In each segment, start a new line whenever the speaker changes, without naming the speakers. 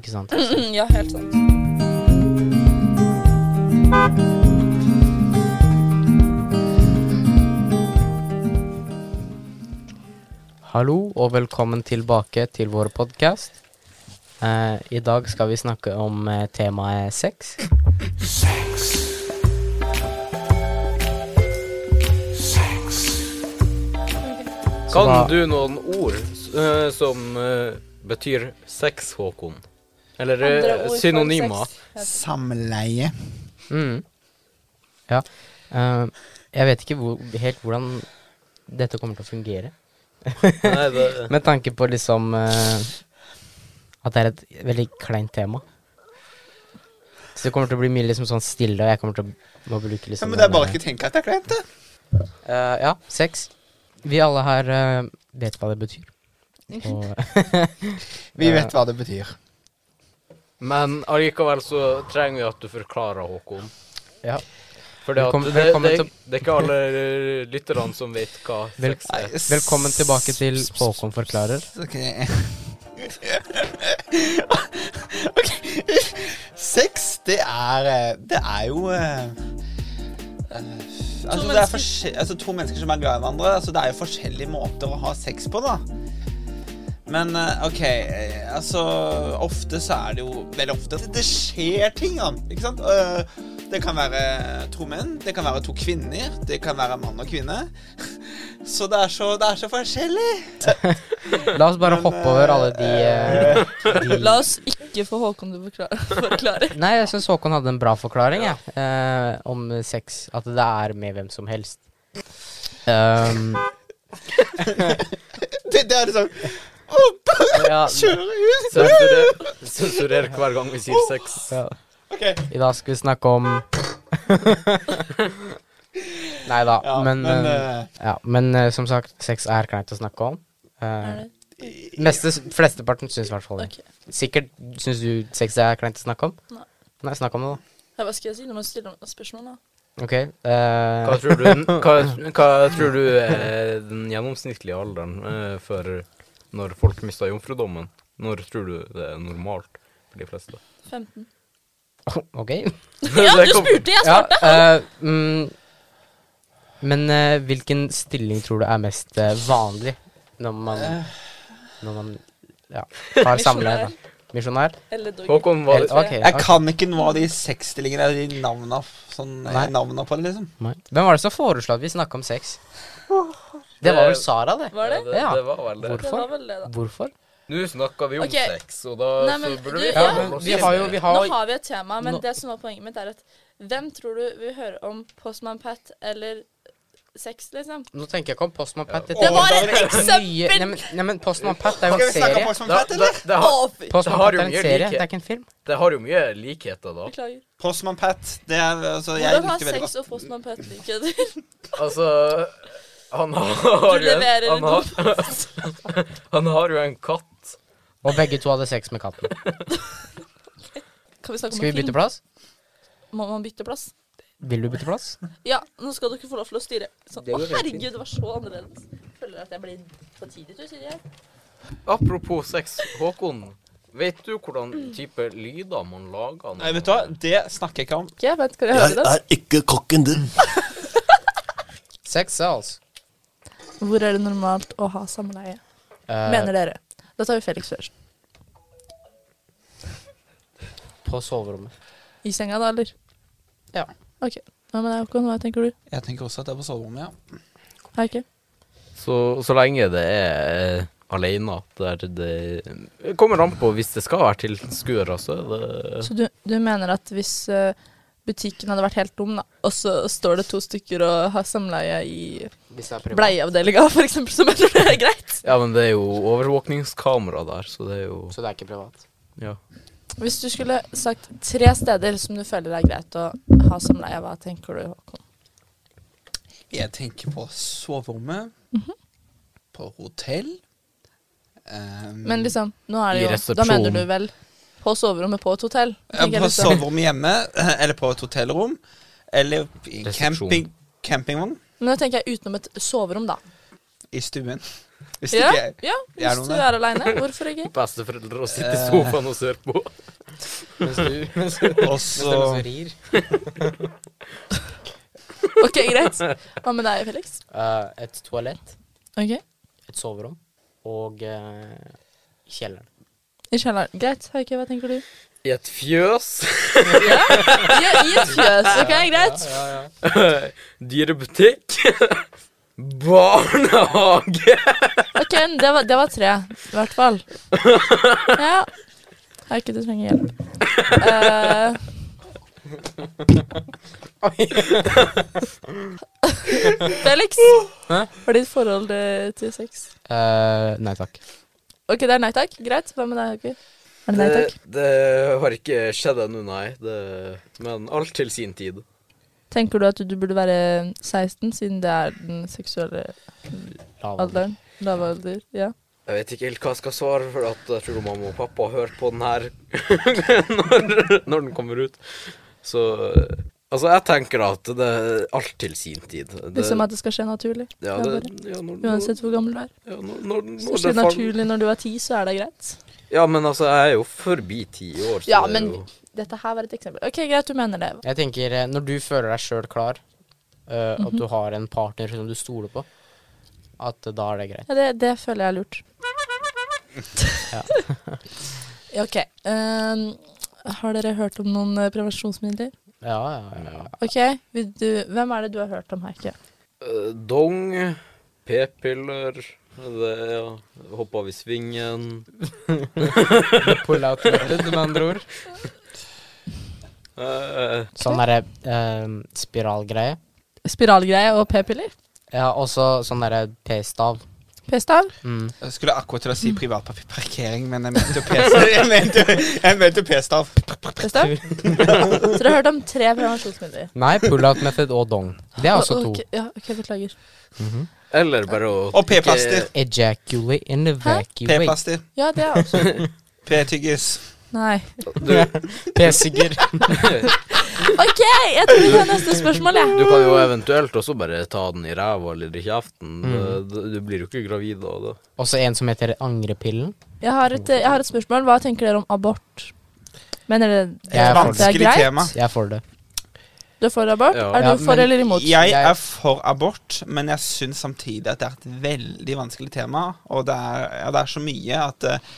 Ikke sant?
Mm, ja, helt sant.
Hallo og velkommen tilbake til vår podkast. I dag skal vi snakke om eh, temaet sex. Så
Kan
hva-
du noen ord s- eh, som eh, betyr sex, Håkon? Eller eh,
Andre ord for
synonymer?
sex.
Samleie.
Mm. Ja. eh, jeg vet ikke hvor, helt hvordan dette kommer til å fungere.
Nei, det,
Med tanke på liksom eh, At det er et veldig kleint tema. Så det kommer til å bli mye liksom sånn stille, og jeg kommer til å må bruke
Ja,
liksom
men det er
den,
bare
eh,
ikke tenke at det er kleint, det.
eh, Ja, sex. Vi alle her eh, vet hva det betyr. Og
Vi vet hva det betyr.
men allikevel så trenger vi at du forklarer, Håkon.
Ja.
For det,
Velkommen-
det,
velkommen
det,
til-
det er ikke alle eh, lytterne som vet hva
Vel-
sex er.
velkommen tilbake til Håkon forklarer.
Ok. ok. Sex, det er eh, Det er jo eh, eh, Altså, det er
mennesker.
forskje- altså, to mennesker som er glad i hverandre. Altså, det er jo forskjellige måter å ha sex på, da. Men eh, OK, eh, altså Ofte så er det jo Vel ofte det, det skjer ting, da. Ikke sant? Eh, det kan være to menn, det kan være to kvinner, det kan være mann og kvinne. Så det er så, det er så forskjellig.
La oss bare
Men,
hoppe over alle de, eh, de
La oss ikke få Håkon til å forklare. forklare.
Nei, jeg syns Håkon hadde en bra forklaring jeg, eh, om sex. At det er med hvem som helst. Um,
Det, det er liksom
ja,
Kjøre ut!
Sensurer, sensurer hver gang vi sier sex.
ja.
Ok.
I dag skal vi snakke om Nei da,
Ja,
men,
men,
eh,
eh,
ja, men eh, som sagt, sex er kleint å snakke om.
Er
Uh,
det?
meste, flesteparten syns i hvert fall det.
Ok.
Sikkert syns du sex er kleint å snakke om?
Nei.
Nei, snakk om det, da.
Ja, Hva skal jeg si når man stiller meg spørsmål? da?
Ok. eh,
Hva tror du, hva, hva tror du er den gjennomsnittlige alderen eh, for når folk mister jomfrudommen? Når tror du det er normalt for de fleste?
15.
ok.
Ja, du spurte! Jeg
Ja,
svarte!
eh, mm, men eh, hvilken stilling tror du er mest eh, vanlig når man,
Eh.
når man ja, har samleie? da? Misjonær?
Eller dog.
Håkon, hva,
Eller- ok,
Jeg
ok.
kan ikke noe av de sexstillingene eller de navna, sånn, eh,
Nei.
navna på det, liksom.
Nei. Hvem var det som foreslo at vi snakka om sex? Det var vel Sara, det.
Var det?
Ja.
det var vel det.
Hvorfor?
Det var vel det, da.
Hvorfor?
Nå snakker vi om
Ok.
sex, og da
Nei, men
så burde
du-
vi
Ja,
forholde
men
oss
vi
til
har jo
det.
vi
Nå
har,
har vi et tema, men
Nå-
det som var poenget mitt, er at hvem tror du vil høre om Postman Pat eller sex, liksom?
Nå tenker jeg ikke om Postman Pat. Dette
Det
er
var
jo
et
nye-
eksempel!
Nei, men- nei, men Postman Pat er jo
Skal
en
vi snakke
serie.
om Postman
Da-
Pat,
da-
eller?
det, har,
Å, fy!
Postman
Det har
Pat er
jo
en
mye
serie,
likhet.
det er ikke en film.
det har jo mye likheter, da.
Beklager.
Postman Pat. Det er, altså, jeg
Hvordan har
likte veldig
sex
godt.
og Postman Pat liket?
Altså Han har
Du
jo en
leverer
han har, han har jo en katt.
Og begge to hadde sex med katten.
Kan vi snakke om
Skal vi
en
bytte
film?
plass?
Må man bytte plass?
Vil du bytte plass?
Ja, nå skal dere få lov til å styre. Sånn.
Det
Å,
går helt
herregud, det var så annerledes. Jeg føler at jeg blir på tidlig, sier jeg.
Apropos sex, Håkon. Vet du hvordan
Mm.
type lyder man lager? når
Nei, vet
man-
du hva, det snakker jeg ikke om.
Ok, vent, skal dere høre det?
ikke kokken din.
Sex sells.
Hvor er det normalt å ha samleie?
Eh,
Mener dere? Da tar vi Felix først.
på soverommet.
I senga da, eller?
Ja.
Ok. Hva med deg, Håkon? Hva tenker du?
Jeg tenker også at det er på soverommet, ja.
Ja, ok.
Så, så lenge det er eh, alene der det Kommer an på hvis det skal være tilskuere, så er det
Så du, du mener at hvis eh, butikken hadde vært helt tom, da, og så står det to stykker og har samleie i
Hvis det er privat.
bleieavdelinga, for eksempel, så mener du det er greit?
Ja, men det er jo overvåkningskamera der, så det er jo
Så det er ikke privat.
Ja.
Hvis du skulle sagt tre steder som du føler er greit å ha samleie, hva tenker du, Håkon?
Jeg tenker på soverommet,
Mhm.
på hotell ehm,
Men liksom, nå er det
I
jo Da
resepsjon.
mener du vel på soverommet på et hotell?
ja,
tenker jeg
På
liksom.
soverommet hjemme, eller på et hotellrom, eller i
Resepsjon.
camping, campingvogn.
Men nå tenker jeg utenom et soverom, da.
I stuen. Hvis
Ja,
ikke jeg
ja,
Det
hvis
er noe
du
der.
er aleine. Hvorfor ikke?
Besteforeldre og sitter i
Eh.
sofaen og ser på.
Mens du, mens du
Og
mens det er noen
så
som rir.
Ok, greit. Hva med deg, Felix?
Eh, et toalett,
Ok,
et soverom og eh, kjelleren.
I kjelleren. Greit. Haike, hva tenker du?
I et fjøs.
Ja, I et fjøs. Ok, greit.
Dyrebutikk. Barnehage.
Ok, det var, det var tre, i hvert fall. Ja. Haike, du trenger hjelp. Eh, Felix,
Hæ?
hva er ditt forhold eh, til sex?
Eh, nei takk.
Ok, det er nei takk. Greit. Hva med deg, Haike? Er det nei
Det,
takk?
det har ikke skjedd ennå, nei. Det, men alt til sin tid.
Tenker du at du burde være 16, siden det er den seksuelle
Lav alder.
alderen? Lave alder? Ja.
Jeg vet ikke helt hva jeg skal svare, for at jeg tror mamma og pappa har hørt på den her når, når den kommer ut. Så Altså, jeg tenker at det er alt til sin tid. Det,
Liksom at det skal skje naturlig.
ja,
det er
det, ja, når, når,
Uansett hvor gammel du er.
ja, når, når,
Så
når
skjer
det
det
fall,
naturlig når du er ti, så er det greit.
Ja, men altså, jeg er jo forbi ti år, så
Ja,
det er
men
jo
dette her var et eksempel. Ok, greit, du mener det.
Jeg tenker, eh, når du føler deg sjøl klar, eh, at
Mhm.
du har en partner som du stoler på, at eh, da er det greit.
Ja, det, det føler jeg er lurt.
Ja.
Ja, ok. Ehm, har dere hørt om noen eh, prevensjonsmidler?
Ja, ja, ja.
Ok, vil du, hvem er det du har hørt om, Heike?
eh, Dong, p-piller det, ja. Hoppa av i svingen.
Pull out method, med andre ord.
eh,
Sånn derre eh, spiralgreie.
Spiralgreie og p-piller?
Ja, også sånn derre p-stav.
P-stav?
Mm.
Jeg skulle akkurat til å si privatparkering, men jeg mente jo P-stav. Jeg mente, jeg mente jo P-stav.
P-stav? Så dere har hørt om tre prevensjonsmidler?
Nei, pull out method og dong. Det er også to. Mhm.
Ok, ja, ok, beklager.
Eller bare å
Og p-plaster.
Ejaculate and evacuate.
P-plaster.
Ja, det er også
P-tyggis.
Nei.
P-sigger.
Ok, jeg tror vi tar neste spørsmål, jeg.
Du kan jo eventuelt også bare ta den i ræva eller i kjeften.
Mm.
Du, du blir jo ikke gravid av det.
Også en som heter angrepillen.
Jeg har, et, jeg har et spørsmål. Hva tenker dere om abort? Mener dere
Jeg er for
det
Et
er
vanskelig
greit?
tema.
Jeg er for det.
Du er for abort?
Ja.
Er
Ja,
du for
men-
eller imot?
Jeg
Jeg-
er for abort, men jeg syns samtidig at det er et veldig vanskelig tema. Og det er, ja, det er så mye at eh,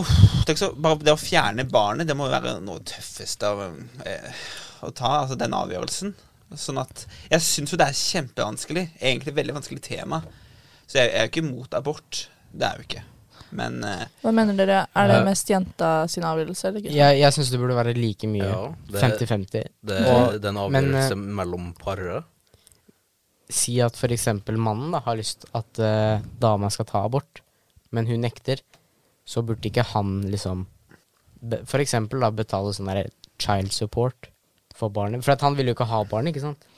uff, tenk så, Bare det å fjerne barnet, det må jo være noe tøffest av, eh, å ta, altså den avgjørelsen. Sånn at Jeg syns jo det er kjempevanskelig. Egentlig veldig vanskelig tema. Så jeg, jeg er jo ikke imot abort. Det er jeg jo ikke. Men eh,
Hva mener dere? Er det
Ja.
mest jenta sin avgjørelse? Eller gutt?
Jeg, jeg syns det burde være like mye.
Ja, det-
50-50.
Det,
Og-
det er en
men,
avgjørelse mellom paret.
Si at for eksempel mannen da har lyst at eh, dama skal ta abort, men hun nekter, så burde ikke han liksom be- For eksempel da betale sånn der child support for barnet. For at han vil jo ikke ha barnet, ikke sant?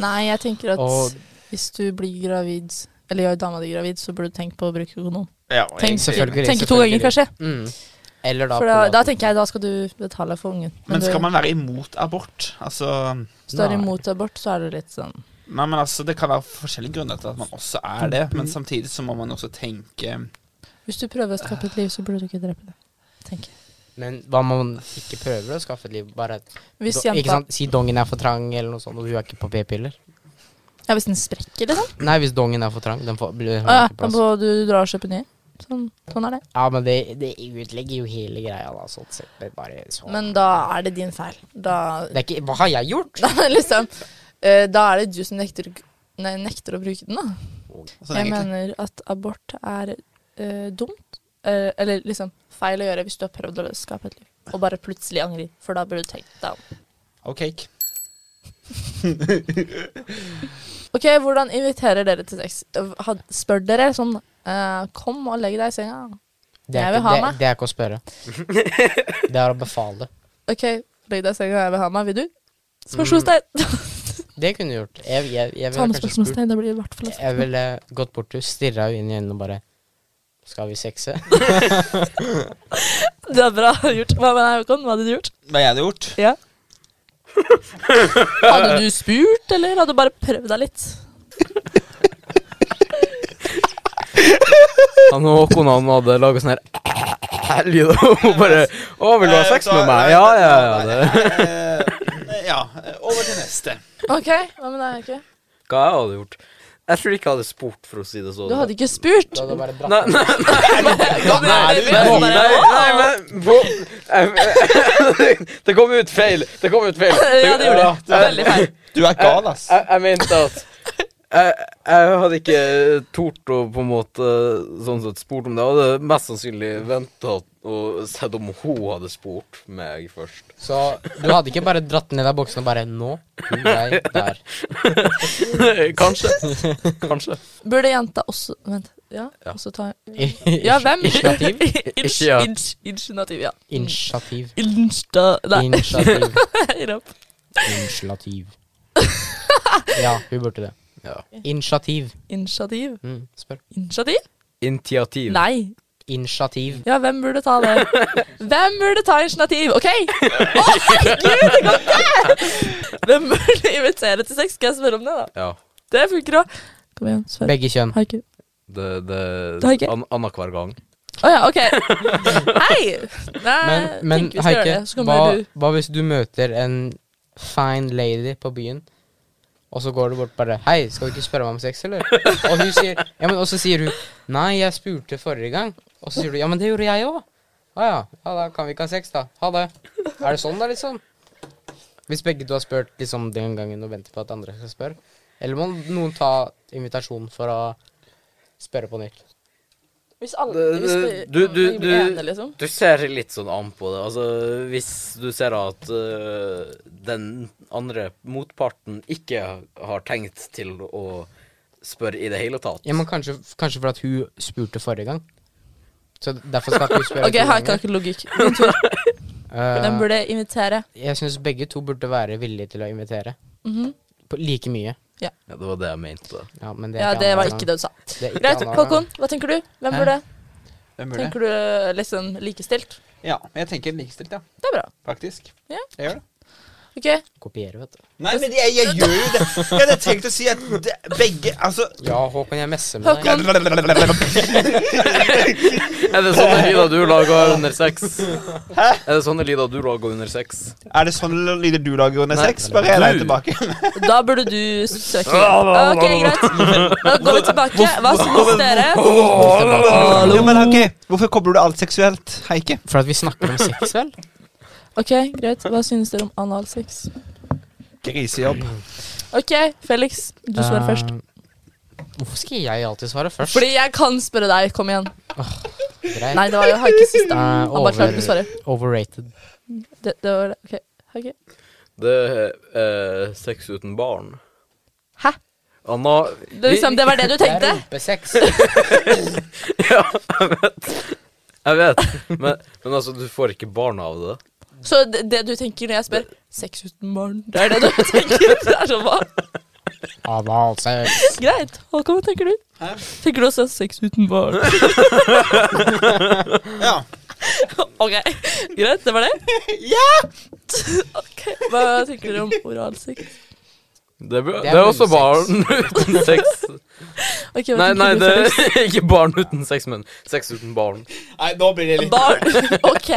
Nei, jeg tenker at
Og-
hvis du blir gravid, eller gjør dama di gravid, så burde du tenke på å bruke kondom.
ja,
Tenk,
egentlig-
selvfølgelig,
tenke to
selvfølgelig.
ganger, kanskje.
Mm. Eller da,
For da,
privat-
da tenker jeg da skal du betale for ungen.
men
du,
skal man være imot abort? Altså
hvis du er
Nei.
imot abort, så er det litt sånn
Nei, men altså, Det kan være forskjellige grunner til at man også er det, men
Mhm.
samtidig så må man også tenke
Hvis du prøver å skape et liv, så burde du ikke drepe det. Tenker jeg.
Men hva om man ikke prøver å skaffe et liv? Bare at
Hvis
do- ikke
jenta
sant? Si dongen er for trang, eller noe sånt, og hun er ikke på p-piller.
Ja, hvis den sprekker, liksom.
Nei, hvis dongen er for trang, den får, blir, har ikke
Ja, Ah, da
plass.
må du dra og kjøpe ny. Sånn, sånn er det.
Ja, men det, det utlegger jo hele greia, da, sånn sett. Det er bare sånn.
Men da er det din feil. Da
det er ikke Hva har jeg gjort?
Da, liksom, eh, da er det du som nekter, nei, nekter å bruke den, da.
sånn
jeg
egentlig.
mener at abort er eh, dumt. eh, eller liksom feil å gjøre hvis du har prøvd å skape et liv og bare plutselig angrer. For da burde du tenkt deg om.
Og cake.
Ok, hvordan inviterer dere til sex? Ha- Spør dere sånn eh, Kom og legg deg i senga.
Det er,
Jeg vil
ikke,
ha
det,
meg.
det er ikke å spørre. Det er å befale.
Ok, legg deg i senga, jeg vil ha meg. Vil du? Spørsmålstegn.
Det kunne du gjort. Jeg, jeg, Mm. jeg
Ta
ville
med
kanskje spurt.
spørsmålstegn, det blir i hvert fall et
Jeg ville gått bort til henne, stirra henne inn i øynene og bare Skal vi sexe?
Det er bra gjort. Hva med deg, Håkon? Hva hadde du gjort?
Hva jeg hadde gjort?
Ja. Hadde du spurt, eller hadde du bare prøvd deg litt?
Han og Håkon han hadde laga sånn her lyd og bare 'Å, vil du
Eh,
ha sex med meg?' Ja, ja, ja. Det.
det. eh, Ja. eh, Over til neste.
OK, hva med deg, Hauke?
Hva jeg hadde gjort? Jeg tror ikke jeg hadde spurt, for å si det sånn.
Du hadde ikke spurt.
Da hadde bare dratt
Nei, nei, nei,
Da er du
nei,
i
nei, men hvor- jeg- Det kom ut feil. Det kom ut feil.
Ja, det gjorde det. Veldig feil.
Du er gal, ass.
Jeg, jeg mente at jeg, jeg hadde ikke tort å på en måte sånn sett spurt om det. Jeg hadde mest sannsynlig venta og sett om hun hadde spurt meg først.
Så du hadde ikke bare dratt ned av boksen og bare Nå, du, jeg, der.
Kanskje. Kanskje.
Burde jenta også Vent. Ja,
Ja.
også ta Ja, hvem?
Initiativ.
Inch-
Ja.
inch- Initiativ, ja.
Initiativ.
Insta... Nei,
Initiativ.
gir opp.
Initiativ. Ja, hun burde det.
Ja.
Initiativ.
Initiativ?
Mm, spør.
Initiativ?
Initiativ.
Nei.
Initiativ.
Ja, hvem burde ta det? Hvem burde ta initiativ? OK! Å, herregud, det går ikke! Hvem burde invitere til sex? Skal jeg spørre om det, da?
Ja.
Det funker òg. Kom igjen, svar.
Begge kjønn.
Haiku.
Det, det,
Det har jeg ikke.
an, Annenhver gang.
Å ja, OK. Hei! Nei,
Men, men
tenker Eh, vi skal gjøre
Heike,
det. Så
hva,
kommer du
hva hvis du møter en fine lady på byen, og så går du bort bare Hei, skal du ikke spørre meg om sex, eller? Og, hun sier, ja, men, og så sier hun Nei, jeg spurte forrige gang. Og så sier du Ja, men det gjorde jeg òg. Å ja. Ja, da kan vi ikke ha sex, da. Ha det. Er det sånn, da, liksom? Hvis begge du har spurt liksom den gangen og venter på at andre skal spørre. Eller må noen ta invitasjonen for å spørre på nytt.
Hvis alle
Det-
hvis
det-
vi-
du- du-
vi blir
du-
enige, liksom.
Du ser litt sånn an på det. Altså, hvis du ser at øh, den andre motparten ikke har tenkt til å spørre i det hele tatt
Ja, men kanskje, kanskje for at hun spurte forrige gang. Så derfor skal ikke hun spørre
OK,
to
Heike
ganger.
har ikke logikk. Min tur.
Eh,
Hvem burde invitere?
Jeg syns begge to burde være villige til å invitere.
Mhm.
På like mye.
Ja, det var det jeg mente.
Ja, men det, er
Ja, det var
annenhver
ikke
gang.
det du sa.
Det er ikke
Greit.
annenhver
Håkon,
gang.
hva tenker du? Hvem
Hæ?
burde?
Hvem burde?
Tenker du liksom likestilt?
Ja, jeg tenker likestilt, ja.
Det er bra.
Faktisk.
Ja.
Jeg gjør det.
OK.
Kopiere, vet du.
Nei, men jeg, jeg gjør jo det. Jeg hadde tenkt å si at det, begge Altså
Ja, Håkon, jeg messer med
Håkon.
deg.
Er det sånne lyder du lager under sex? Hæ? Er det sånne lyder du lager under sex?
Er det sånn lyder du lager under
Nei.
sex? Bare jeg
Du.
deg tilbake.
Da burde du søke. OK, greit. Da går vi tilbake. Hva syns dere?
Ja, men ok, Hvorfor kobler du alt seksuelt, Heike?
For at vi snakker om sex, vel?
OK, greit. Hva syns dere om analsex?
Grisejobb.
OK, Felix, du svarer først.
Eh, Hvorfor skal jeg alltid svare først?
Fordi jeg kan spørre deg. Kom igjen.
Greit.
Nei, det var jo Haike sist, da.
Eh,
Han bare klarte ikke å svare.
Overrated.
Det, det var det. OK. Haike.
Det er eh, sex uten barn.
Hæ?
Anna
Det, er liksom, det var det du
Det
tenkte?
er rumpesex.
Ja, jeg vet. Jeg vet. Men, men altså, du får ikke barn av det.
Så det, det du tenker når jeg spør Sex uten barn, det er det du tenker? Det er sånn, hva?
Analsex.
Greit. Håkon, hva tenker du?
Hæ?
Tenker du også sex uten barn?
Ja.
Ok, greit, det var det? Ja! ok, Hva tenker dere om oralsex?
Det, det,
er
det er også
munnsex.
barn uten sex.
Okay, hva
Nei,
tenker
nei,
du
det
først?
er ikke barn uten sex, men sex uten barn.
Nei, nå blir det litt
Barn Ok.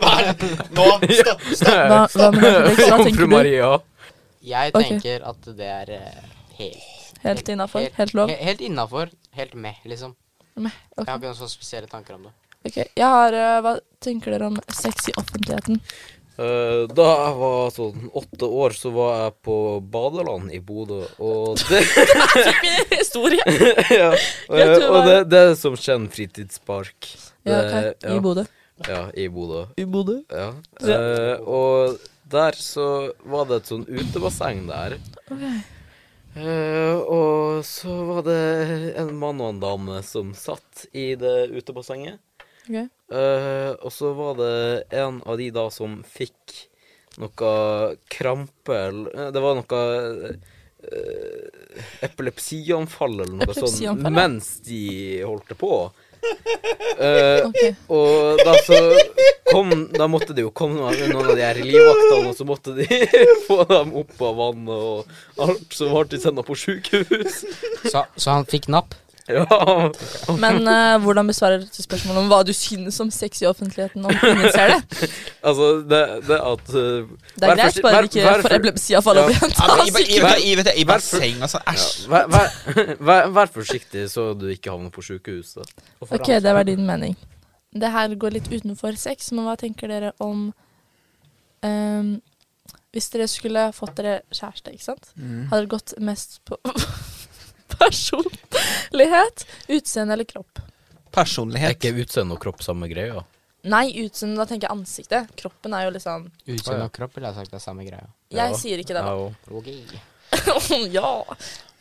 Nå, stopp, stopp.
Hva, hva med deg, Felix? Hva
Jomfru
tenker du?
Maria.
Jeg
Ok.
tenker at det er eh, helt
Helt innafor? Helt lov?
he- Helt innafor. Helt med, liksom.
Meh,
Jeg har
Ok,
ikke noen sånne spesielle tanker om det.
ok. Jeg har eh, Hva tenker dere om sex i offentligheten?
Eh, da jeg var sånn åtte år, så var jeg på badeland i Bodø, og det
Historie!
ja.
Jeg tror
eh, Og
det
det, det er som kjenner fritidspark.
Ja,
Det-
ok. I
Eh, ja.
Bodø.
Ja, i Bodø.
I Bodø?
Ja. Eh, og der så var det et sånn utebasseng der. Eh, og så var det en mann og en dame som satt i det utebassenget.
Ok.
Eh, og så var det en av de da som fikk noe krampe eller- eh, Det var noe eh, epilepsianfall eller noe
Epilepsianfall, ja.
sånt mens de holdt det på. Eh,
Ok.
og da så kom Da måtte det jo komme noen, noen av de her livvaktene, og så måtte de få dem opp av vannet og alt, så ble de sendt på sjukehus.
Så, så han fikk napp?
Ja.
Men eh, hvordan besvarer dette spørsmålet om hva du synes om sex i offentligheten? Om ingen ser det?
Altså, det, det at eh,
Det
Vær
er greit,
forsi-
bare
vær-
ikke
vær
for
for-
epilepsi av fallet
Ja.
Ja, men i, i,
blir
vet du, i, vet du, I basseng og sånn.
ja,
Æsj.
vær, vær, vær, vær forsiktig så du ikke havner på sjukehuset.
Ok, det var din mening. Det her går litt utenfor sex, men hva tenker dere om ehm, Hvis dere skulle fått dere kjæreste, ikke sant?
Mm.
Hadde dere gått mest på personlighet, utseende eller kropp?
Er
Personlighet.
ikke utseende og kropp samme greia?
Nei, utseende, da tenker jeg ansiktet. Kroppen er jo liksom
Utseende
Ja.
og kropp ville jeg sagt det er samme greia.
Jeg
Ja.
sier ikke det, da.
og-
ja.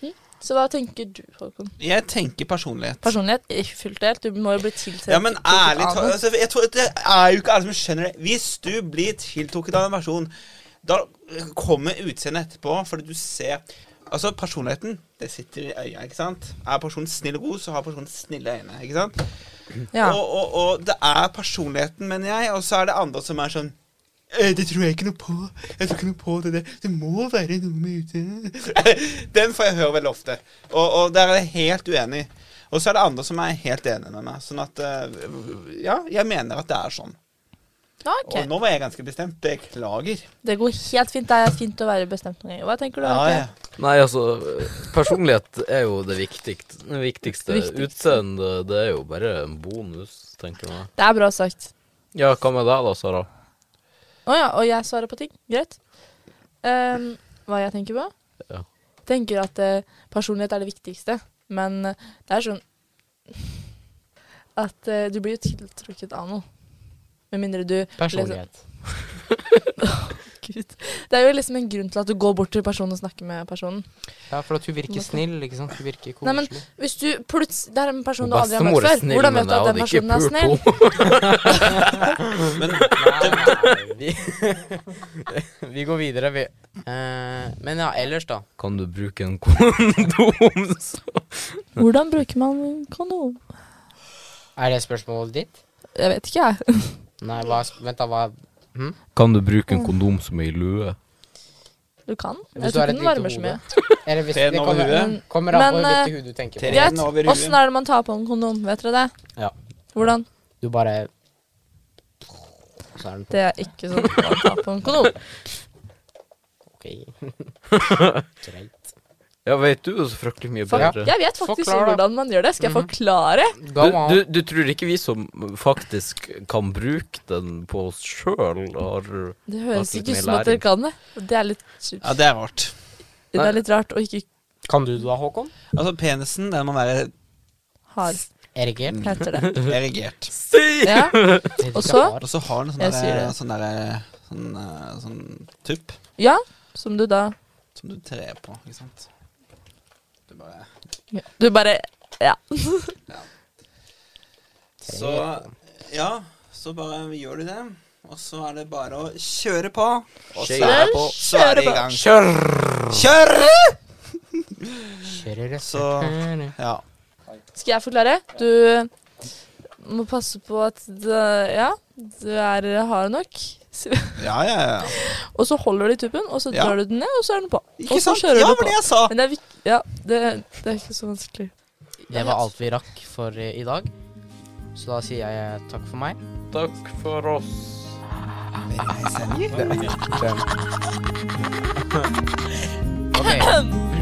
Hm? Så hva tenker du, Håkon?
Jeg tenker personlighet.
Personlighet? Ikke fullt helt. Du må jo bli tiltrukket
Ja, men ærlig
av
talt
noe.
altså, Jeg tror at det er jo ikke alle som skjønner det. Hvis du blir tiltrukket av en person, da eh, kommer utseendet etterpå, fordi du ser Altså, personligheten, det sitter i øya, ikke sant? Er personen snill og god, så har personen snille øyne, ikke sant?
Ja.
Og, og, og det er personligheten, mener jeg, og så er det andre som er sånn «Eh, det tror jeg ikke noe på. Jeg tror ikke noe på det. der. Det må være noe med ute. Den får jeg høre veldig ofte. Og, og der er jeg helt uenig. Og så er det andre som er helt enige med meg. Sånn at eh, Ja, jeg mener at det er sånn.
Ja, ok.
Og nå var jeg ganske bestemt. Beklager.
Det går helt fint. Det er fint å være bestemt noen ganger. Hva tenker du? Arte?
Nei, altså, personlighet er jo det viktigste. Det viktigste.
Viktigste.
Utseende, det er jo bare en bonus, tenker jeg.
Det er bra sagt.
Ja, hva med deg da, Sara?
Å ja, og jeg svarer på ting. Greit. Ehm, hva jeg tenker på?
Ja.
Tenker at eh, personlighet er det viktigste, men eh, det er sånn at eh, du blir jo tiltrukket av noe. Med mindre du liksom-
Personlighet.
Gud. Det er jo liksom en grunn til at du går bort til personen og snakker med personen.
Ja, for at hun virker
Måte.
snill, ikke sant. Hun virker
Nei, men-
koselig.
Hvis du plutselig Det er en person du aldri har møtt
Bestemor er
før.
snill,
Hvordan vet
men
du
jeg
at den
hadde ikke
personen er snill?
pult henne.
Men
vi, vi går videre, vi. Eh, men ja, ellers, da.
Kan du bruke en kondom?
Hvordan bruker man kondom?
Er det spørsmålet ditt?
Jeg vet ikke, jeg.
Nei, hva Vent, da. Hva hm?
Kan du bruke en kondom som ei lue?
Du kan.
Hvis
Jeg
du
tror
har et
ikke den
lite
varmer så
hode.
mye.
Eller hvis
Tre
det
nå over
kommer,
huet.
kommer an på
Men, eh,
hvilket hue du tenker på.
Tre.
Greit.
Reden over ruen.
Åssen er det man tar på en kondom? Vet dere det?
Ja.
Hvordan?
Du bare Så er den på.
Det er ikke sånn man tar på en kondom.
Ok. Greit.
Ja, vet du det så fryktelig mye
Fuck,
bedre?
Jeg vet faktisk
Forklar, da.
hvordan man gjør det. Skal jeg forklare?
Go
Du,
on.
du, du tror ikke vi som faktisk kan bruke den på oss sjøl, har
Det høres
Litt
ikke
mer
ut som at dere
læring.
kan det. Det er litt,
Ja, det er rart.
det er litt rart å ikke
Kan du det da, Håkon?
Altså, penisen, den må være
ha
Erigert?
heter det.
Mhm. erigert.
Si!
Ja. Mm. Og så?
Og så har den sånn
Jeg sier
derre
det.
sånn, der, sånn, eh, sånn tupp
ja, som du da
som du trer på, ikke sant. Det er bare
Du bare Ja.
Så ja, så bare gjør du det. Og så er det bare å kjøre på. Og så er det, på, så er det i gang.
Kjør!
Kjør! Så-
Så
Ja.
Skal jeg forklare? Du må passe på at det, Ja, du er hard nok.
Ja, ja, ja.
Og så holder du i tuppen, og så
Ja.
drar du den ned, og så er den på.
Ikke
og så
sant?
kjører
Ja,
du
var
på.
det jeg sa.
Men det er, vik- ja, det, det er ikke så vanskelig.
Det var alt vi rakk for eh, i dag. Så da sier jeg takk for meg.
Takk for oss.
Veldig nice, Henrik.
Ok.